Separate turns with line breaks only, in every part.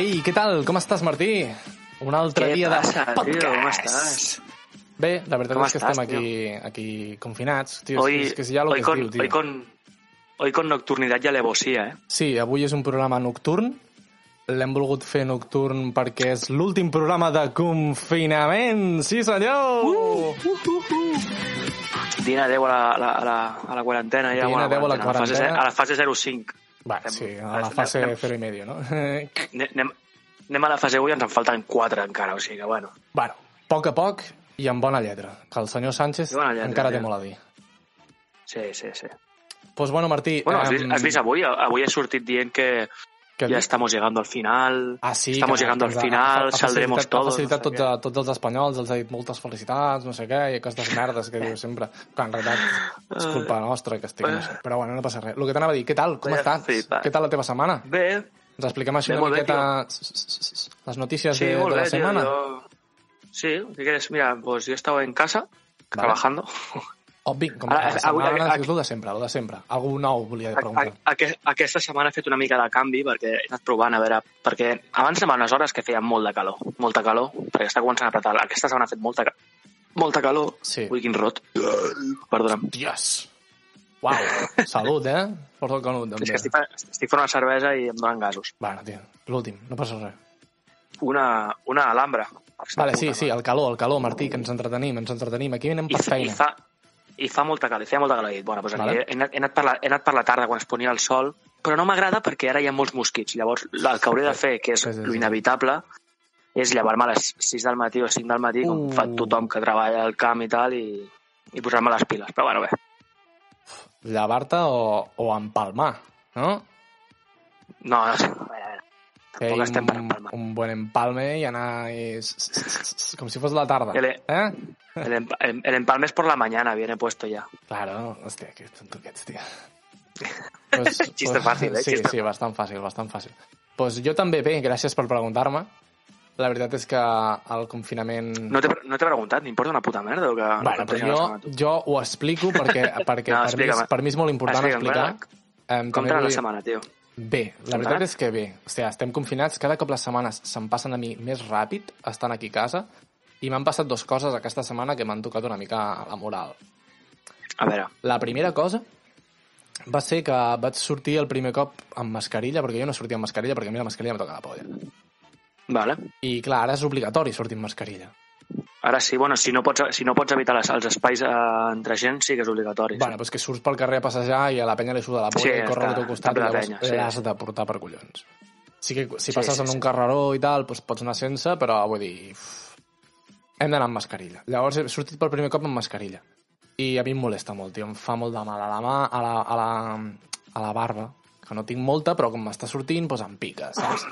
Ei, què tal? Com estàs, Martí? Un altre
Què
dia
passa,
de
tio?
podcast.
Com estàs?
Bé, la veritat
Com
és que
estàs,
estem aquí, aquí confinats. Tio,
hoy,
és, que és ya lo que
hoy
es
con,
diu, tio.
hoy con hoy con nocturnidad y alevosía, ¿eh?
Sí, avui és un programa nocturn. L'hem volgut fer nocturn perquè és l'últim programa de confinament. Sí, senyor! Uh, uh,
Dient adeu a la, a la, a la, a la quarantena. Ja,
Dient
bueno,
adeu a la quarantena.
A la fase, ze- a la fase 05.
Va,
Fem-
sí, a la fase
anem-
0 i medio, no?
Ne- Anem, anem a la fase 1 i ens en falten 4 encara, o sigui que, bueno.
bueno, a poc a poc i amb bona lletra, que el senyor Sánchez
I bona lletra,
encara
tio.
té molt a dir.
Sí, sí, sí.
Doncs pues bueno, Martí...
Bueno, has vist,
em,
has vist avui? Avui ha sortit dient que
què has
ja
vist?
estamos llegando al final.
Ah, sí,
Estamos
que
llegando al
ens ha-
final,
ha facilitat-
saldremos todos,
Ha facilitat
no sé
tots, a, tots els espanyols, els ha dit moltes felicitats, no sé què, i aquestes merdes que diu sempre. Que en realitat és
Ah.
culpa nostra que estic, no sé. Però bueno, no passa res. El que t'anava a dir, què tal? Com
Vaya
estàs?
flipat.
Què tal la teva setmana?
Bé,
Ens expliquem així
Bé,
una
molt bé,
miqueta les notícies
sí,
de,
molt
de
bé,
la
tio,
setmana.
yo- Sí, ¿qué quieres? Mira, pues yo estaba en casa, trabajando.
Obvi, com
Ara,
que la
Ah, avui-
setmana
a-
és el de sempre, el de sempre. Algú nou volia
A-
preguntar.
a- aquest- Aquesta setmana he fet una mica de canvi perquè he anat provant a veure... Perquè abans anava unes hores que feia molt de calor, molta calor, perquè està començant a apretar. Aquesta setmana ha fet molta, ca- molta calor.
Sí.
Ui, quin rot. Perdona'm.
Dios! Uau, salut, eh? Porta el canut, també.
És que estic, fa- estic fent una cervesa i em donen gasos.
Bueno, tio, l'últim, no passa res.
Una, una alhambra.
Vale, sí, sí, el calor, el calor, Martí, que ens entretenim, ens entretenim. Aquí anem
I,
per
fa- i,
feina.
fa, I fa molta calor, i feia molta calor. I, bueno, doncs
Vale.
vale. he, anat, he, anat per la, he anat per la tarda quan es ponia el sol, però no m'agrada perquè ara hi ha molts mosquits. Llavors, la- el que hauré de fer, que és
Sí, sí, sí.
l'inevitable, és llevar-me a les 6 del matí o 5 del matí, com
Uh.
fa tothom que treballa al camp i tal, i, i posar-me les piles. Però bueno, bé,
Llevar-te o, o empalmar, no?
no, no sé. A veure, a veure.
Fer
Tampoc estem per
un,
empalmar.
un bon empalme i anar... I... s- s- s- s- com si fos la tarda.
Ele-
Eh?
El, emp- el, el empalme es por la mañana, viene puesto ya.
Claro, hòstia, que tonto que ets, tio. Pues,
Xiste fàcil, eh?
Sí,
Xiste
sí, bastant fàcil, bastant fàcil. Doncs pues jo també, bé, gràcies per preguntar-me. La veritat és que el confinament...
No t'he no t'he preguntat, n'importa una puta merda o que...
bueno,
no
però jo, jo ho explico perquè, perquè per,
No,
mi és,
explica'm. eh.
per mi és molt important
Explica'm,
explicar. Em,
Com
també
t'ha anat
vull-
la setmana, tio?
Bé, la veritat és que bé. O sigui, estem confinats, cada cop les setmanes se'n passen a mi més ràpid, estant aquí a casa, i m'han passat dues coses aquesta setmana que m'han tocat una mica la moral.
A veure,
La primera cosa va ser que vaig sortir el primer cop amb mascarilla, perquè jo no sortia amb mascarilla, perquè a mi la mascarilla em toca la polla.
vale.
I clar, ara és obligatori sortir amb mascarilla.
Ara sí, bueno, si no pots, si no pots evitar les, els espais eh, entre gent, sí que és obligatori. sí.
Bueno, però és que surts pel carrer a passejar i a la penya li suda la polla
Sí,
i corre al
està-
teu costat i
està ple de
llavors
penya, sí.
l'has de portar per collons. Sí que si
Sí,
passes
sí,
en
sí.
un carreró i tal, doncs pots anar sense, però vull dir... uf, hem d'anar amb mascarilla. Llavors he sortit per primer cop amb mascarilla. I a mi em molesta molt, tio. Em fa molt de mal a la mà, a la, a la, a la barba, que no tinc molta, però com m'està sortint, doncs em pica, saps?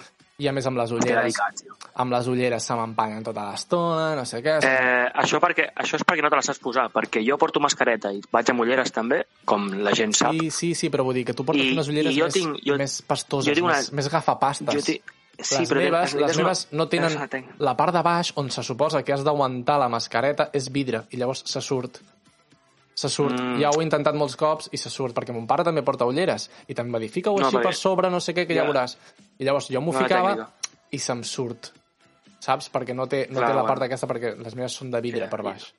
I a més amb les
Té
ulleres,
delicat, tio.
amb les ulleres se m'empanyen tota l'estona, no sé què...
Eh, això, perquè, això és perquè no te la saps posar, perquè jo porto mascareta i vaig amb ulleres també, com la gent sap.
Sí, sí, sí, però vull dir que tu portes
I-
unes ulleres
i jo
més,
tinc- jo-
més pastoses,
jo tinc una-
més, més gafapastes.
Jo tinc-
Les meves, les meves no tenen...
no tinc.
La part de baix, on se suposa que has d'aguantar la mascareta, és vidre, i llavors se surt. Se surt.
Mm.
Mm. Ja ho he intentat molts cops i se surt, perquè mon pare també porta ulleres. I també va dir, fica-ho
No,
no, així
perquè-
per sobre, no sé què, que ja,
Ja.
ja veuràs. I llavors jo m'ho
Bona
ficava
tècnica.
i se'm surt. Saps? Perquè no té, no
Clar,
té la
bueno.
part aquesta, perquè les meves són de vidre
Ja,
per
ja.
baix.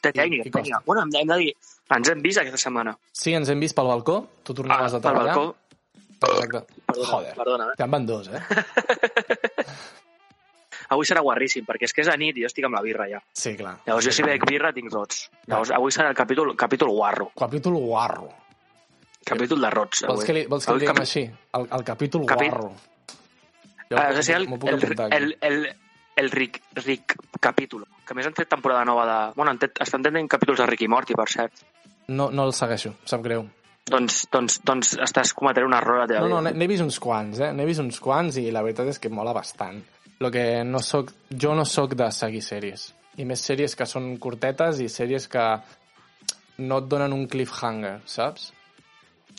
Té tècnica,
i costa.
tècnica. Bueno, hem de, hem de dir, ens hem vist aquesta setmana.
Sí, ens hem vist pel balcó, tu tornaves
Ah,
a
pel
treballar.
balcó.
Exacte.
Perdona,
Joder,
perdona, eh?
ja en van dos, eh?
Avui serà guarríssim, perquè és que és de nit i jo estic amb la birra ja.
Sí, clar.
Llavors jo si bec birra tinc rots. Llavors avui serà el capítol, capítol guarro,
Capítol guarro.
capítol de rots. Avui.
Vols que li, vols que
Avui
li diguem
capi-
així? El, el capítol
Capi-
guarro.
Ah, és el,
m'ho
el, el,
aquí.
el, el Rick, Rick capítol, que a més han fet temporada nova de... Bueno, han fet, estan tenint capítols de Rick i Morty, per cert.
No, no el segueixo, em sap greu.
Doncs, doncs, doncs estàs cometent un error a la teva
No, no, n'he
vida.
n'he vist uns quants, eh? N'he vist uns quants i la veritat és que mola bastant. Lo que no soc, jo no sóc de seguir sèries. I més sèries que són cortetes i sèries que no et donen un cliffhanger, saps?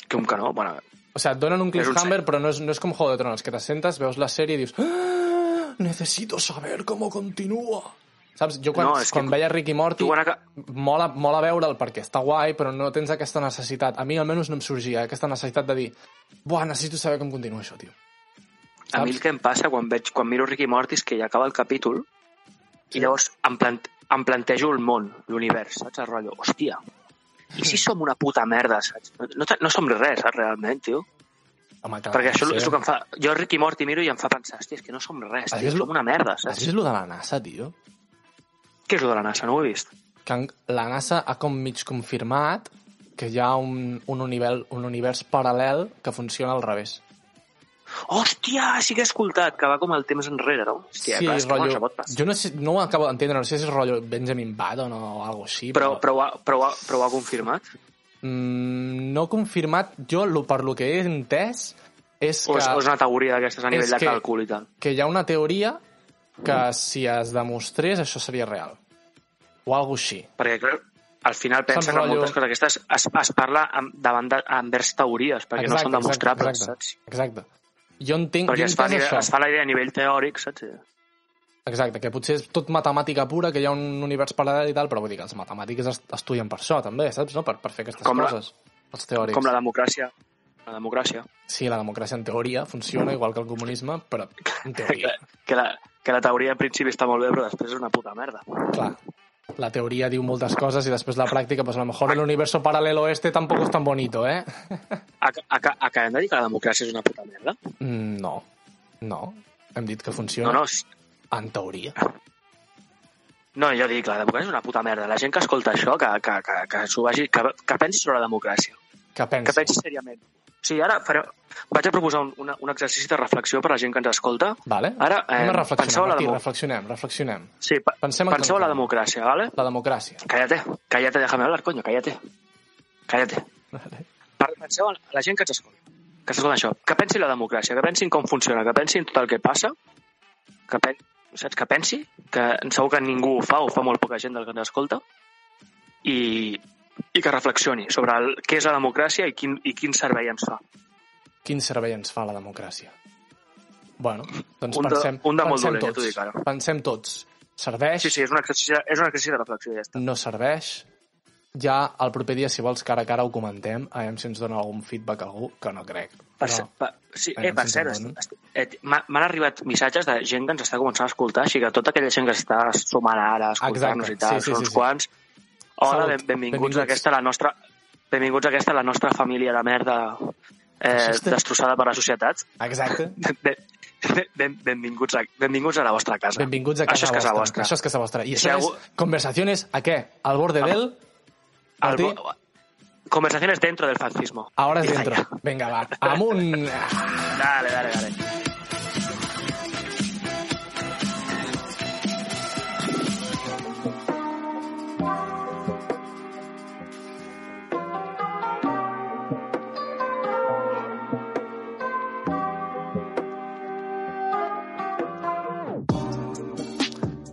Que un canó, bueno,
O sea, et donen un
un
cliffhanger, però no és, no és com Juego de Tronos, que te sentes, veus la sèrie i dius "Ah, necessito saber com continua. Saps? Jo quan,
No,
no,
és que
quan veia Rick i Morty,
tu quan aca...
mola, mola veure'l perquè està guai, però no tens aquesta necessitat. A mi almenys no em sorgia eh, aquesta necessitat de dir buah, necessito saber com continua això, tio.
A mi el que em passa quan, veig, quan miro Ricky Morty és que ja acaba el capítol i llavors em, plant, em plantejo el món, l'univers, saps? El rotllo, hòstia, i
Hmm.
si som una puta merda, saps? No, no, no som res, saps, realment, tio.
Home, clar,
Perquè això
Ah, sí.
és el que em fa... Jo Ricky Morty miro i em fa pensar, hòstia, és que no som res,
Això
tio,
és lo-
som una merda, saps?
Això és lo de la NASA, tio.
Què és el de la NASA? No ho he vist.
Que en- la NASA ha com mig confirmat que hi ha un, un, univers, un univers paral·lel que funciona al revés.
Hòstia, sí que he escoltat, que va com el temps enrere, no? Hòstia, clar, és que no, això pot passar.
jo no, sé, no ho acabo d'entendre, no sé si és rotllo Benjamin Button o alguna així.
Però, però, ho ha, però, ho ha, però ho ha confirmat?
Mm, no confirmat, jo lo, per lo que he entès és
O
que...
és, o és una teoria d'aquestes a
És
nivell de
que-
càlcul i tal?
que hi ha una teoria que
Mm.
si es demostrés això seria real. O alguna així.
Perquè, clar, al final pensa que
rotllo-
moltes coses aquestes es, es parla amb, davant de, envers teories, perquè no són demostrables,
exacte,
saps?
Exacte. Jo entenc,
Perquè
jo
es fa,
entenc
nivell,
això.
es fa la idea a nivell teòric, saps?
Exacte, que potser és tot matemàtica pura, que hi ha un univers paral·lel i tal, però vull dir que els matemàtics es- estudien per això, també, saps? No? Per, per fer aquestes
Com la-
coses. Els teòrics.
Com la democràcia. La democràcia.
Sí, la democràcia en teoria funciona, igual que el comunisme, però en
Que,
teoria.
que, la, que la teoria en principi està molt bé, però després és una puta merda.
Clar, la teoria diu moltes coses i després la pràctica, pues a lo mejor el universo paralelo este tampoco es tan bonito, eh?
Ac- ac- Acabem de dir que la democràcia és una puta merda?
Mm, No, no. Hem dit que funciona
No, no, sí.
en teoria.
no, jo dic, la democràcia és una puta merda. La gent que escolta això, que, que, que, que, s'ho vagi, que, que pensi sobre la democràcia.
Que pensi.
Que pensi seriament. O sigui, ara faré... vaig a proposar un, una, un exercici de reflexió per a la gent que ens escolta.
Vale?
Ara, eh,
Anem a reflexionar,
penseu a la
Martí,
demo-
reflexionem, reflexionem.
Sí, pe-
Pensem en
penseu en la
Calcón.
democràcia, ¿vale?
La democràcia.
Cállate, cállate, déjame hablar, coño, cállate. Cállate.
Vale.
Per- Penseu en la gent que ens escolta, que s'escolta això, que pensi en la democràcia, que pensin com funciona, que pensin tot el que passa, que pen... saps? Que pensi, que segur que ningú ho fa, o fa molt poca gent del que ens escolta, i, i que reflexioni sobre el, què és la democràcia i quin, i quin servei ens fa.
Quin servei ens fa la democràcia? Bueno, doncs
Un de-
pensem,
un de molt
pensem
dolent, ja t'ho
tots.
dic ara.
pensem tots. Serveix,
Sí, sí, és un exercici, de- és un exercici de reflexió, ja està.
no serveix. Ja el proper dia, si vols, cara a cara ho comentem, a veure si ens dona algun feedback algú, que no crec.
Per,
Però
no. per, sí,
Ai,
eh,
em
per
sento
cert,
molt, no?
est- est- et- m'ha- m'han arribat missatges de gent que ens està començant a escoltar, així que tota aquella gent que està sumant ara, a escoltar-nos
Exacte,
i tal,
sí, sí,
són
sí,
uns
sí.
quants. Hola,
Salut,
ben, benvinguts,
benvinguts.
a aquesta, la nostra, benvinguts a aquesta, la nostra família de merda eh,
Feixista.
destrossada per la societat.
Exacte.
Ben, ben, ben, benvinguts, a, benvinguts a la vostra casa.
Benvinguts a casa,
Això és casa
vostra.
vostra.
Això és casa vostra. I
Si
això
algú-
és conversacions a què? Al borde del...
El
Martí?
bo- Conversaciones dentro del fascismo.
Ahora es
Ja,
dentro.
ja.
Venga, va. Amunt.
Dale, dale, dale.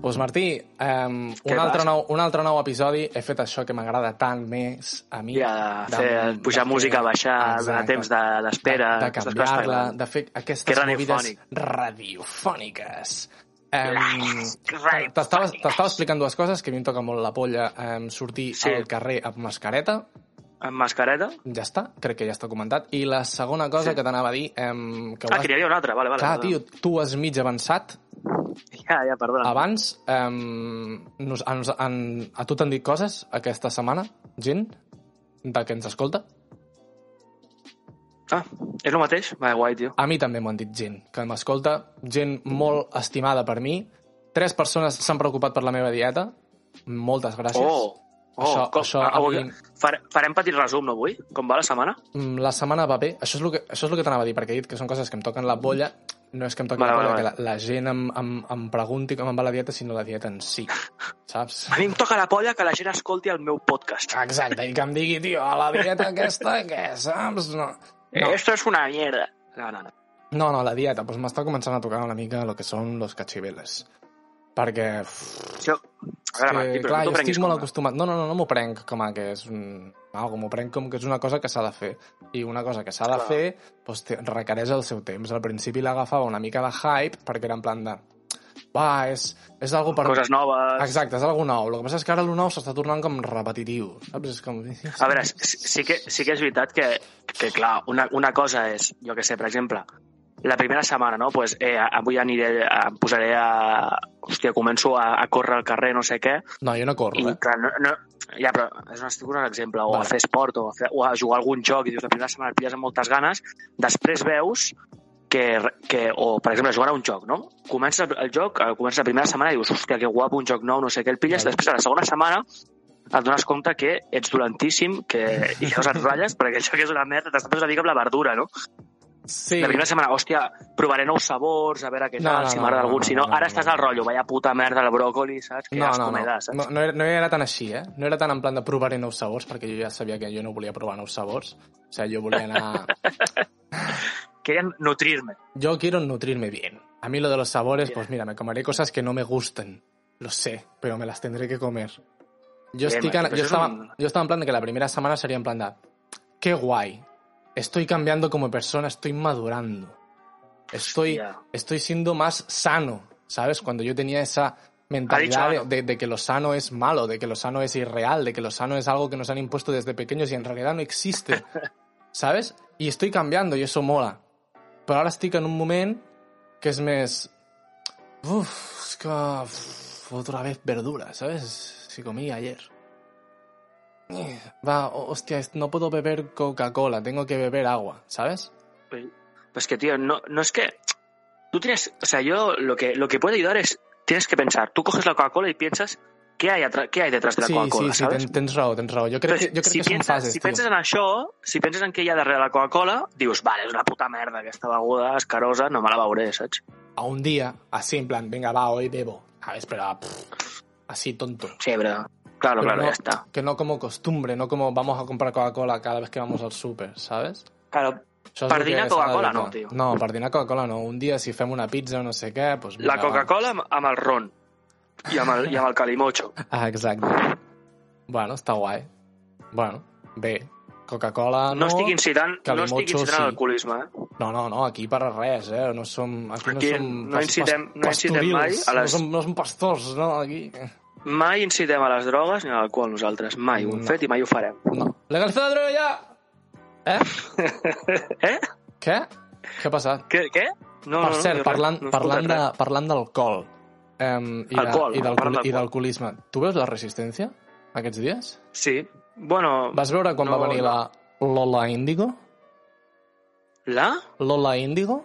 Pues Martí, um,
Què
un, altre
vas?
nou, un altre nou episodi. He fet això que m'agrada tant més a mi.
Ja, de fer, pujar música, baixar, donar temps de- d'espera,
De, de
aquestes coses
canviar-la,
t'agraden.
de fer
Que
aquestes movides
radiofònic.
radiofòniques.
Radios-
Um, T'estava t'estava explicant dues coses que a mi em toca molt la polla. Um, sortir
Sí.
al carrer amb mascareta,
Amb mascareta?
ja està, crec que ja està comentat. I la segona cosa
Sí.
que t'anava a dir... Um, que ho
Ah,
has-
que n'hi havia una altra, vale, vale.
Clar,
perdona.
tio, tu has mig avançat
Ja, ja, perdona.
Abans, um, nos, a, nos, en, a tu t'han dit coses aquesta setmana, gent, de que ens escolta?
Ah, és el mateix? Va, guai, tio.
A mi també m'ho han dit gent que m'escolta, gent molt estimada per mi. Tres persones s'han preocupat per la meva dieta, moltes gràcies.
Oh, oh,
Això-
com,
això
ah,
avui-
avui- far- farem petit resum, no, avui? Com va la setmana?
Mm, La setmana va bé, això és el que, això és el que t'anava a dir, perquè he dit que són coses que em toquen la bolla, no és que em toquen
Vale,
la bolla,
vale,
que la, la gent em, em, em pregunti com em va la dieta, sinó la dieta en si, saps?
A mi em toca la polla que la gent escolti el meu podcast.
Exacte, i que em digui, tio, a la dieta aquesta, què, saps? No.
No. Eh, Esto es una mierda. No, no, no.
No, no, la dieta. doncs Pues m'està començant a tocar una mica el que són los cachiveles. Perquè... uf,
Això, A veure, Martí,
que,
però
clar, jo
no t'ho
estic molt
prenguis com eh? a-
acostumat... No, no, no, no m'ho prenc com a que és un... Ah, com m'ho prenc com que és una cosa que s'ha de fer. I una cosa que s'ha de
Clar.
fer doncs, té- requereix el seu temps. Al principi l'agafava una mica de hype perquè era en plan de... Va, és, és algo per... Ah,
Coses noves...
Exacte, és algo nou. El que passa és que ara el nou s'està tornant com repetitiu. Saps? És com...
A veure, sí, sí, que, sí que és veritat que, que clar, una, una cosa és, jo que sé, per exemple, la primera setmana, no? Pues, eh, avui aniré, a- em posaré a... Hòstia, començo a, a córrer al carrer, no sé què,
No, jo no corro,
i
eh?
clar, no, no, ja, però és un, estic posant un exemple, o
Vale.
a fer esport, o a, fer, o a jugar a algun joc, i dius, la primera setmana et pilles amb moltes ganes, després veus que, que o, per exemple, jugar a un joc, no? Comença el, el joc, eh, comença la primera setmana i dius, hòstia, que guapo, un joc nou, no sé què, el pilles,
Vale.
després a la segona setmana et dones compte que ets dolentíssim, que i llavors et ratlles, perquè el joc és una merda, t'estàs una mica amb la verdura, no?
Sí.
La primera setmana, hòstia, provaré nous sabors, a veure què
No,
tal,
no,
si
no,
m'agrada
no,
algun,
no,
si no,
no,
ara
no,
estàs
no.
al rotllo, vaya puta merda, el bròcoli, saps? Que
No, no,
asco
no.
me da, saps?
No, no, era, no era tan així, eh? No era tan en plan de provaré nous sabors, perquè jo ja sabia que jo no volia provar nous sabors. O sigui, jo volia anar...
Querían nutrirme.
Yo quiero nutrirme bien. A mí lo de los sabores,
Mira.
pues mira, me comeré cosas que no me gustan. Lo sé, pero me las tendré que comer. Yo,
Bien,
estoy, can-
pues
yo,
es
estaba,
un-
yo estaba en plan de que la primera semana sería en plan de, qué guay. Estoy cambiando como persona, estoy madurando. Estoy,
Hostia.
estoy siendo más sano, ¿sabes? Cuando yo tenía esa mentalidad
ano.
de, de- de que lo sano es malo, de que lo sano es irreal, de que lo sano es algo que nos han impuesto desde pequeños y en realidad no existe, ¿sabes? Y estoy cambiando y eso mola. Però ara estic en un moment que és més... Uf, és que... Uf, otra vez verdura, ¿sabes? Si comí ayer. Eh, Va, ho- hostia, es- no puedo beber Coca-Cola, tengo que beber agua, ¿sabes?
Pues que, tío, no, no es que. Tú tienes. O sea, yo lo que, lo que puede ayudar es. Tienes que pensar. Tú coges la Coca-Cola y piensas. ¿Qué hay, atra- qué hay detrás de la
sí,
Coca-Cola?
sí, sí,
¿sabes?
ten, tens raó, tens raó. Jo crec
Entonces,
que, jo crec
si,
que són
piensas,
fases,
si
tio.
piensas en això, si piensas en què hi ha darrere la Coca-Cola, dius, vale, és una puta merda aquesta beguda escarosa, no me la veuré, saps?
A un dia, així, en plan, venga, va, hoy bebo. ¿Sabes? Però, pff, así tonto.
Sí, però...
Però
Claro, claro,
no-
ya está.
Que no como costumbre, no como vamos a comprar Coca-Cola cada vez que vamos al súper, ¿sabes?
Claro,
Això és
Per
el que
dinar
s'ha de
Coca-Cola
evitar.
no, tio.
No, per dinar Coca-Cola no. Un dia, si fem una pizza o no sé què... Doncs
la
vinga, va.
Coca-Cola amb, amb el ron i amb el, i amb el calimocho.
Ah, exacte. Bueno, està guai. Bueno, bé. Coca-Cola
No,
no...
estic incitant, no estic
calimocho
incitant
sí.
a l'alcoholisme, eh?
No, no, no, aquí per a res, eh? No som... Aquí,
Aquí
no som...
no
pas-
incitem-
pas-
no incitem
pastorils,
mai a les-
No som, no som pastors, no, aquí.
Mai incitem a les drogues ni a l'alcohol nosaltres, mai, ho hem
No.
fet i mai ho farem.
No. Legalitzar la droga ja! Eh?
Eh?
Què? Què ha passat?
Què? què? No,
per cert,
jo res,
parlant,
no he
parlant,
escoltat
de,
res.
parlant d'alcohol um, i,
Alcohol,
de, i,
parlant
d'alcohol- i
d'alcohol.
d'alcoholisme, tu veus la resistència aquests dies?
Sí, bueno...
Vas veure quan
No,
va venir
no.
la Lola Índigo?
La?
Lola Índigo?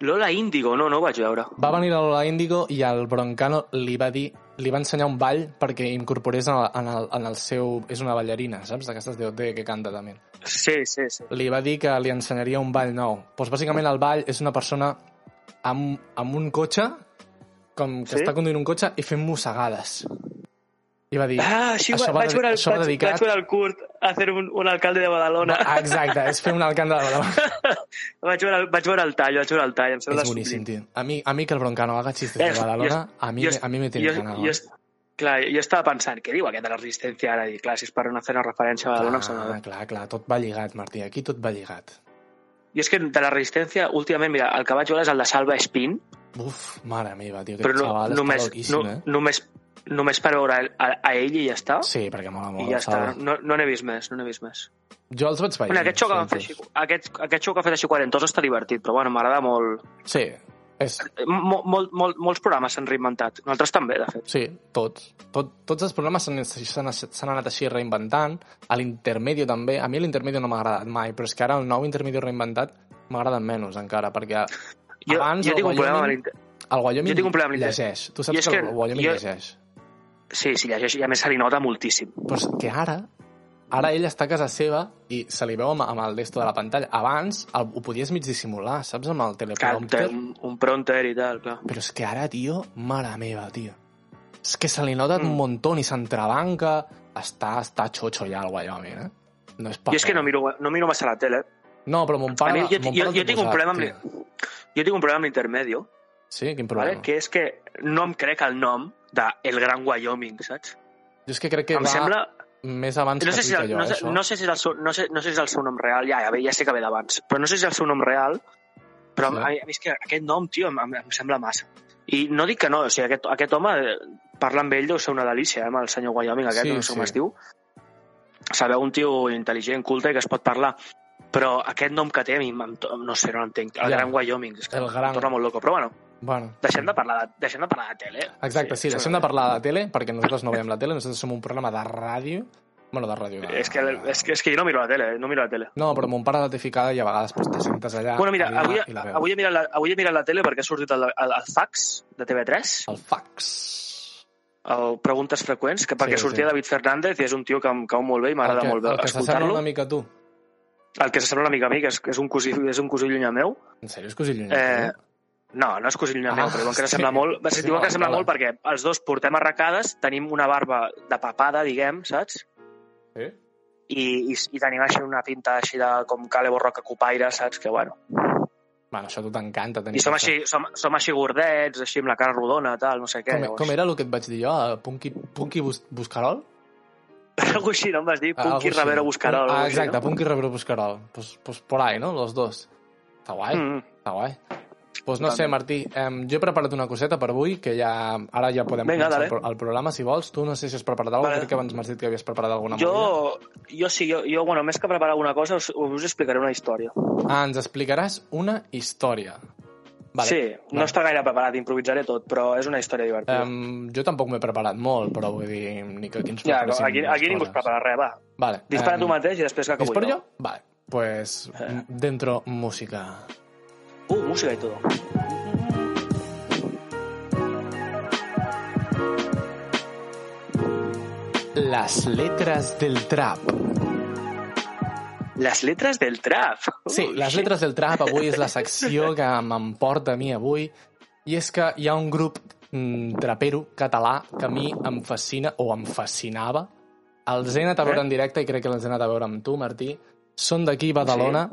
Lola Índigo, no, no ho vaig veure.
Va venir la Lola Índigo i el Broncano li va dir li va ensenyar un ball perquè incorporés en el, en el, en el seu... És una ballarina, saps? D'aquestes d'OT que canta també.
Sí, sí, sí.
Li va dir que li ensenyaria un ball nou. Doncs pues bàsicament el ball és una persona amb, amb un cotxe, com que
Sí?
està conduint un cotxe i fent mossegades. I va dir...
Ah, sí,
Això
va,
va
vaig,
dedi-
veure el,
això va
vaig,
dedicat-
vaig veure el curt a fer un, un alcalde de Badalona.
Ah, exacte, és fer un alcant de la Badalona.
vaig, veure el, vaig veure el tall, vaig veure el tall, em sembla
És boníssim,
sublim.
tio. A mi, a mi que el Broncano haga xistes
Eh,
de
jo-
Badalona, a mi,
jo-
a mi me eh. tiene ganado.
jo, est- clar, jo estava pensant, què diu aquest de la resistència ara? I clar, si és per una fer una eh. referència a Badalona, em sembla bé.
clar, Ah, clar, clar, tot va lligat, Martí, aquí tot va lligat.
I és que de la resistència, últimament, mira, el que vaig veure és el de Salva Espín,
Uf, mare meva, tio, aquest
però no,
xaval està
només, no,
loquíssim, eh?
només, només per veure el- a, a ell i ja està.
Sí, perquè mola molt.
I ja
el xaval.
està, no, no n'he vist més, no n'he vist més.
Jo els vaig veient.
Bueno, aquest xoc, que van fer així,
sí,
aquest, aquest xoc que ha fet així 40 està divertit, però bueno, m'agrada molt. Eh,
Sí, és,
Mol, mol, mol, molts programes s'han reinventat, nosaltres també, de fet.
sí, tots. Tot, tots els programes s'han- s'han s'han anat així reinventant, a l'intermedio també. A mi l'intermedio no m'ha agradat mai, però és que ara el nou intermedio reinventat m'agrada menys encara, perquè
Jo,
Abans
jo
el
tinc un problema amb
Wyoming-
l'inter-
el Wyoming
Jo tinc un problema amb l'inter-
llegeix. Tu
I
saps
és
que,
que
el Wyoming
jo-
llegeix.
Sí, sí, llegeix, i a més se li nota moltíssim.
Pues que ara, ara ell està a casa seva i se li veu amb, amb el desto de la pantalla. Abans el, ho podies mig dissimular, saps? Amb el
Clar,
teleprompter.
té un, un prompter i tal, clar.
Però és que ara, tio, mare meva, tio. És que se li nota
Mm.
un montón i s'entrebanca. Està, està xotxo ja el Wyoming, eh? No és
Jo
paper.
és que no miro, no miro massa la tele.
No, però mon
A
pare...
mi, jo,
mon
jo,
pare
jo,
t'ho
tinc un
posat,
problema amb,
tio.
li- jo tinc un problema amb l'intermedio,
Sí, quin
vale?
problema.
que és que no em crec el nom de El Gran Wyoming, saps?
Jo és que crec que
Em
va
sembla...
més abans
No
que
sé, si
tu,
el,
allò,
no, sé,
això.
no, sé si és el seu, no, sé, no sé si és el seu nom real, ja, ja, ve- ja sé que ve d'abans, però no sé si és el seu nom real, però
Sí.
a, mi- a mi és que aquest nom, tio, em, em, em sembla massa. I no dic que no, o sigui, aquest, aquest home, eh, parlar amb ell deu ser una delícia, eh, amb el senyor Wyoming aquest,
Sí,
sí, no sé com
sí.
es diu. Sabeu, un tio intel·ligent, culte, que es pot parlar, però aquest nom que té, a mi, em- em to- no sé, no l'entenc. El
Ja.
gran Wyoming, és que
El
em
gran.
torna molt loco, però bueno,
Bueno,
deixem de parlar de, deixem de, parlar de tele.
Exacte, sí, deixem de parlar de tele, perquè nosaltres no veiem la tele, nosaltres som un programa de ràdio. Bueno, de ràdio. De...
És que, és, que, és que jo no miro la tele, eh, no miro la tele.
No, però mon pare la té ficada i a vegades pues, te sentes allà
Bueno, mira,
a dinar
avui,
i la veus.
avui, he mirat la, avui he mirat la tele perquè ha sortit el, el, el fax de TV3,
El fax.
el Preguntes Freqüents, que perquè
Ah. Sí,
sí, sortia
sí.
David Fernández i és un tio que em cau molt bé i m'agrada
El que-
molt bé
El que s'assembla
escoltar-lo.
una mica a tu.
El que s'assembla una mica a mi, que és, que és un cosí, és un cosí llunyà meu.
En sèrio, és cosí lluny.
Eh, no, no és cosí llunyà
Ah,
ah, meu, però diuen que
sí.
s'assembla molt.
Sí,
Sí, diuen que
no,
s'assembla
no.
molt perquè els dos portem arracades, tenim una barba de papada, diguem, saps?
Sí?
I, i, i tenim així una pinta així de com Calebo Roca Copaire, saps? Que bueno.
Bueno, això a tu t'encanta. tenir
I som
això.
així, som, som així gordets, així amb la cara rodona, tal, no sé què.
Com,
llavors.
com era el que et vaig dir jo? eh, Punky, Punky Bus Buscarol?
Algo així, no em vas dir?
Algo
Punky
així.
Rivero Buscarol.
Ah,
algo així,
exacte,
no?
Punky Rivero Buscarol. Pues, pues por ahí, no? Los dos. Està guai.
Mm.
Està guai. Doncs no sé, Martí, em, jo he preparat una coseta per avui, que ja ara ja podem
Vinga,
començar el,
dale.
pro- el programa, si vols. Tu no sé si has preparat alguna cosa,
Vale.
crec que abans m'has dit que havies preparat alguna movida.
Jo, jo sí, jo, jo, bueno, més que preparar alguna cosa, us, us explicaré una història.
Ah, ens explicaràs una història. Vale.
Sí, no
Vale.
està gaire preparat, improvisaré tot, però és una història divertida. Um,
Em, jo tampoc m'he preparat molt, però vull dir, ni que aquí ens
ja,
preparéssim
aquí,
les
aquí ningú es
coses.
prepara res, va.
Vale.
Dispara
em,
tu mateix i després que acabo
¿Disparo yo? Vale. Pues m- dentro música.
Uh, música i tot.
Las letras del trap.
Les letres del trap.
Sí,
Uh,
les
shit.
letres del trap avui és la secció que m'emporta a mi avui i és que hi ha un grup mm, trapero català que a mi em fascina o em fascinava. Els he anat a veure en directe i crec que els he anat a veure amb tu, Martí. Són d'aquí, Badalona.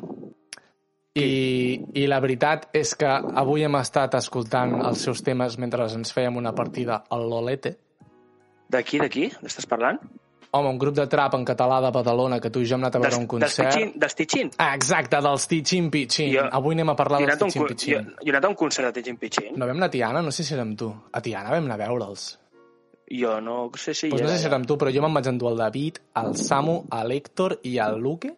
I, I la veritat és que avui hem estat escoltant els seus temes mentre ens fèiem una partida al Lolete.
D'aquí, d'aquí? N'estàs parlant?
Home, un grup de trap en català de Badalona que tu i jo hem anat a veure
Dels-
un concert.
Dels Tichin? Dels Tichin?
Ah, exacte, dels Tichin Pichin.
Jo-
Avui anem a parlar
Jo he
dels
anat a un
Tichin
con- Jo
Pichin.
jo he anat a un concert de Tichin Pichin.
No vam anar a Tiana? No sé si érem tu. A Tiana vam anar a veure'ls.
Jo no sé si... hi
Doncs no
era,
sé si
ja.
érem tu, però jo me'n vaig endur el David, el Samu, a l'Hèctor i al Luque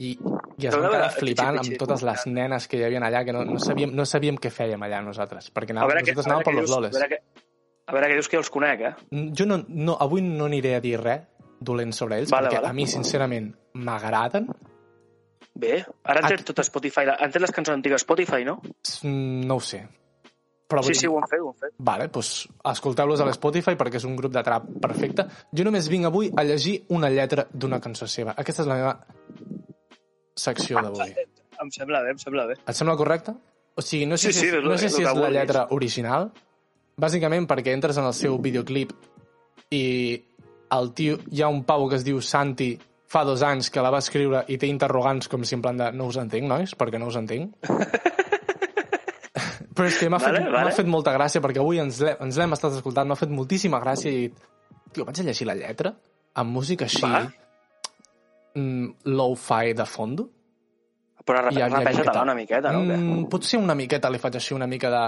i, i es
Però
van
a veure,
quedar
Tichin
flipant amb
Pichin.
totes les nenes que hi havia allà, que no, no, sabíem, no sabíem què fèiem allà nosaltres, perquè
A
anàvem,
veure, què,
nosaltres anàvem
a veure què
per los
dius, a
loles.
veure què, a veure què dius que jo els conec, eh?
Jo no, no, avui no aniré a dir res dolent sobre ells,
Vale,
perquè
vale.
a mi, sincerament, m'agraden.
Bé, ara han tret tot a Spotify, han tret les cançons antigues a Spotify, no?
Mm, No ho sé. Però vull
Sí, sí, ho han fet, ho han fet.
Vale, doncs escolteu-los a l'Spotify perquè és un grup de trap perfecte. Jo només vinc avui a llegir una lletra d'una cançó seva. Aquesta és la meva secció d'avui.
Em sembla bé, em sembla bé.
Et sembla correcte? O sigui, no sé
Sí,
si,
sí,
és,
és lo-
no sé
és
si
lo que
és la
vulguis.
lletra original, bàsicament perquè entres en el seu videoclip i el tio, hi ha un pavo que es diu Santi fa dos anys que la va escriure i té interrogants com si en plan de no us entenc, nois, perquè no us entenc. Però és que m'ha
Vale,
fet,
vale.
vale. fet molta gràcia perquè avui ens l'he- ens l'hem estat escoltant, m'ha fet moltíssima gràcia i tio, vaig a llegir la lletra amb música així
Va.
mm, low-fi de fondo
Però
Hi havia miqueta.
repeja-te-la una miqueta, no? Mm.
Mm, potser una miqueta li faig així una mica de...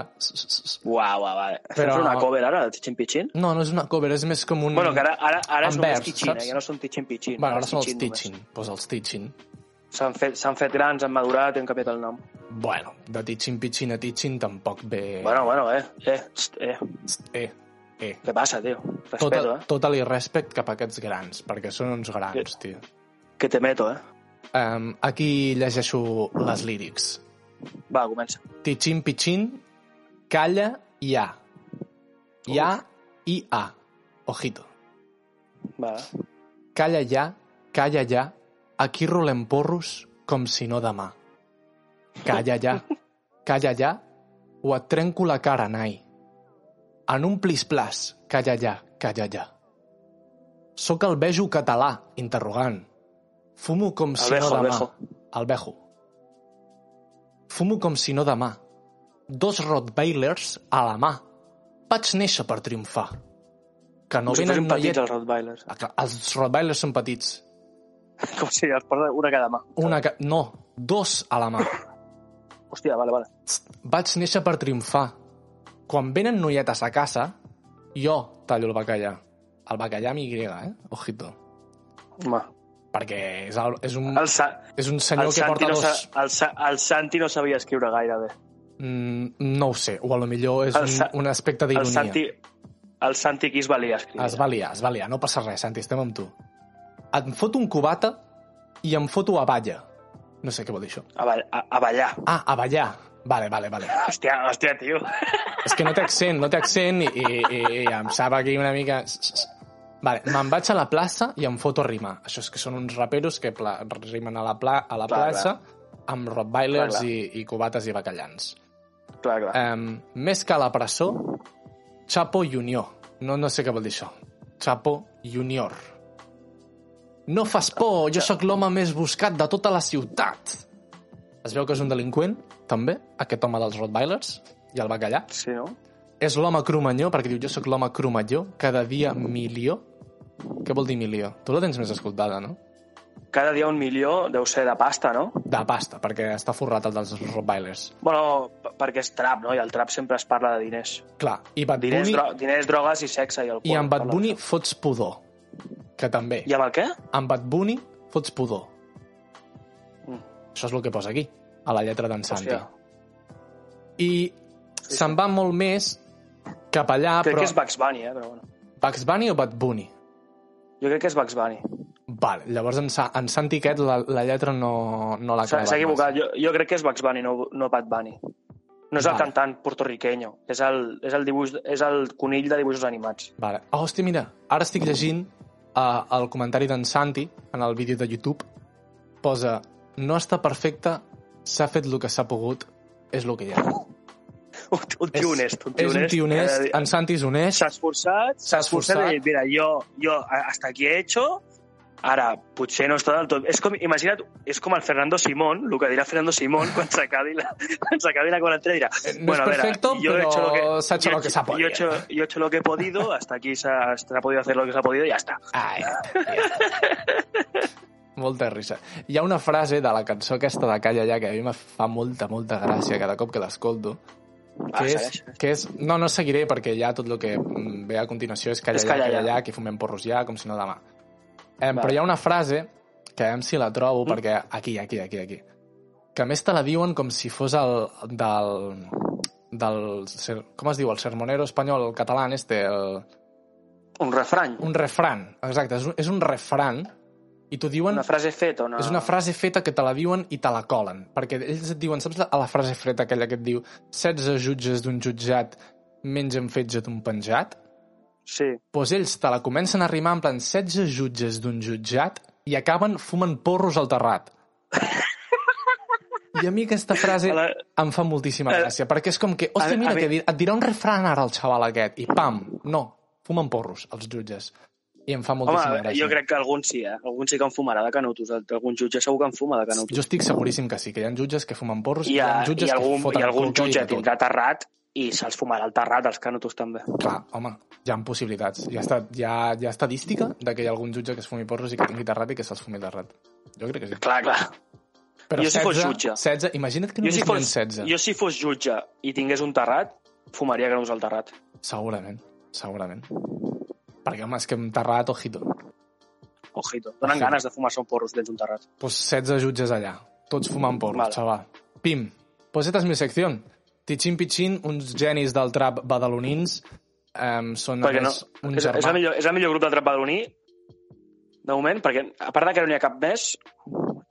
Uau, uau, uau.
Però-
Però... Fem una cover ara, de Tichin Pichin?
No, no és una cover, és més com un...
Bueno, que ara, ara, ara són
Envers,
els Tichin,
saps?
eh? ja no són Tichin Pichin.
bueno, ara són els
només.
Teaching. Doncs pues els Teaching.
S'han fet, s'han fet grans, han madurat i han canviat el nom.
Bueno, de Teaching Pitching a Teaching tampoc ve...
Bueno, bueno, eh, eh, xt, eh.
Eh, eh. Tota,
Què passa, tio? Respeto,
Total,
eh?
total i respect cap a aquests grans, perquè són uns grans, tio.
Que te meto, eh?
Um, aquí llegeixo les lírics.
Va, comença.
Teaching Pitching, calla i a. Ja i a. Ojito.
Va.
Calla ja, calla ja, aquí rolem porros com si no demà. Calla ja, calla ja, o et trenco la cara, nai. En un plisplàs, calla ja, calla ja. Soc el vejo català, interrogant. Fumo com si
Alvejo,
no demà.
alvejo.
El vejo. Fumo com si no demà. Dos Rottweilers a la mà. Vaig néixer per triomfar. que no
Vosaltres
venen
són
noiet...
petits, els Rottweilers.
Ah, clar, Els Rottweilers són petits.
Com si els porta una cada mà.
Una que... No, dos a la mà.
Hòstia, vale, vale.
Vaig néixer per triomfar. Quan venen noietes a casa, jo tallo el bacallà. El bacallà amb Y, eh? Ojito.
Home,
Perquè és, el, és, un,
el, Sa
és un senyor
el,
que
Santi
porta
no
dos...
sa el, Sa el Santi no sabia escriure gaire bé.
Mm, no ho sé, o a lo millor és
El
un,
Sa-
un aspecte
El
d'ironia.
Santi, el Santi qui es valia escriure.
Es va liar, es va liar. No passa res, Santi, estem amb tu. Et foto un cubata i em foto a balla. No sé què vol dir això.
A, ball a, a ballar.
Ah, a ballar. Vale, vale, vale.
Hòstia, hòstia, tio.
És que no té accent, no té accent i, i, i, i em sap aquí una mica... Vale, me'n vaig a la plaça i em foto a rimar. Això és que són uns raperos que pla... rimen a la, pla... a la
Clar,
plaça amb rottweilers
Clar, clar.
i, i cubates i bacallans.
Clar, clar.
Um, més que a la presó, Chapo Junior. No, no sé què vol dir això. Chapo Junior. No fas por, jo sóc l'home més buscat de tota la ciutat. Es veu que és un delinqüent, també, aquest home dels Rottweilers, i el bacallà.
Sí, no?
És l'home cromanyó, perquè diu, jo sóc l'home cromanyó, cada dia milió. Què vol dir milió? Tu la tens més escoltada, no?
Cada dia un milió deu ser de pasta, no?
De pasta, perquè està forrat el dels Rottweilers.
Bueno, p- perquè és trap, no? I el trap sempre es parla de diners.
Clar, i Bad
Diners,
Bunny,
dro diners drogues i sexe i alcohol.
i amb Bad
Parla
Bunny Ah,
d'això.
fots pudor, que també.
I amb el què?
amb Bad Bunny fots pudor.
Mm.
Això és el que posa aquí, a la lletra d'en Santi.
Hòstia.
I se'n va molt més cap allà,
crec
però...
que és Bugs Bunny, eh? Però bueno.
Bugs Bunny o Bad Bunny?
Jo crec que és Bugs Bunny.
Vale, llavors en, Sa en Santi aquest la, la lletra no, no l'ha
S'ha
clavat.
s'ha equivocat. Jo, jo crec que és Bugs Bunny, no, no Bad Bunny. No és el
Vale.
cantant puertorriqueño, és el, és, el dibuix, és el conill de dibuixos animats.
massa. Vale. Oh, hòstia, mira, ara estic llegint uh, el comentari d'en Santi en el vídeo de YouTube. Posa, no està perfecte, s'ha fet el que s'ha pogut, és el que hi ha.
Un, un tio honest. Un tio
és un
honest.
tio honest,
Eh,
en Santi és honest,
S'ha esforçat, s'ha esforçat, i ha dit, mira, jo, jo hasta aquí he hecho, ara, potser no està del tot... És com, imagina't, és com el Fernando Simón, el que dirà Fernando Simón quan s'acabi la, quan s'acabi la quarantena, dirà...
Eh, No es perfecto,
he
pero
hecho lo que-
se ha hecho
yo
lo que se ha
Yo he hecho,
podido.
yo he hecho lo que he podido, hasta aquí se ha, se ha podido hacer lo que se ha podido i ja està.
Ah, ja està, ja està. molta risa. Hi ha una frase de la cançó aquesta de Calla ja que a mi me fa molta, molta gràcia cada cop que l'escolto,
Ah,
que, és,
segueix.
que és... No, no seguiré perquè ja tot el que mm, ve a continuació és Calla
És
ja,
Calla
Calla
ja.
ja, que fumem porros ja, com si no demà. Eh,
Vale.
però hi ha una frase, que a veure si la trobo,
Mm.
perquè aquí, aquí, aquí, aquí, que a més te la diuen com si fos el... del... del ser- com es diu? El sermonero espanyol, el català, este, el
Un refrany,
un refran, exacte, és un, és un refran i t'ho diuen...
una frase feta, una...
És una frase feta que te la diuen i te la colen, perquè ells et diuen, saps la, la frase freta aquella que et diu 16 jutges d'un jutjat mengen fetge d'un penjat?
Sí,
Doncs ells te la comencen a rimar en plan 16 jutges d'un jutjat i acaben fumant porros al terrat. I a mi aquesta frase
A la-
em fa moltíssima
a-
gràcia, perquè és com que,
a-
hòstia,
a
mira,
mi-
que di- et dirà un refran ara el xaval aquest, i pam, no, fumen porros, els jutges. I em fa
home,
moltíssima gràcia.
jo crec que algun sí, eh? Algun sí que en fumarà de canutos, algun jutge segur que en fuma de canutos.
Jo estic seguríssim que sí, que hi ha jutges que fumen porros
I, a,
hi ha jutges
i
que
algun,
foten
i algun
coca
jutge
de tot.
tindrà terrat i se'ls fumarà el terrat, els canutos també.
Clar, home, hi ha possibilitats. Hi ha, estat, hi ha, hi ha estadística de que hi ha algun jutge que es fumi porros i que tingui terrat i que se'ls fumi terrat. Jo crec que sí.
Clar, clar.
Però
Jo si fos jutge.
16, imagina't que
Jo
només
si,
n'hi
fos,
ha 16.
jo si fos jutge i tingués un terrat, fumaria graus al terrat.
Segurament, segurament. Perquè, home, és que hem terrat, ojito.
Ojito. Donen
Ojito.
ganes de fumar-se un porro si tens un terrat.
Pues 16 Doncs jutges allà, tots fumant porros,
Vale.
vale. xaval. Pim, pues esta és mi secció. Tichín Pichín, uns genis del trap badalonins, um, són
Perquè no,
només un
és,
germà.
és, el millor, és el millor grup de trap badaloní, de moment, perquè a part de que no n'hi ha cap més,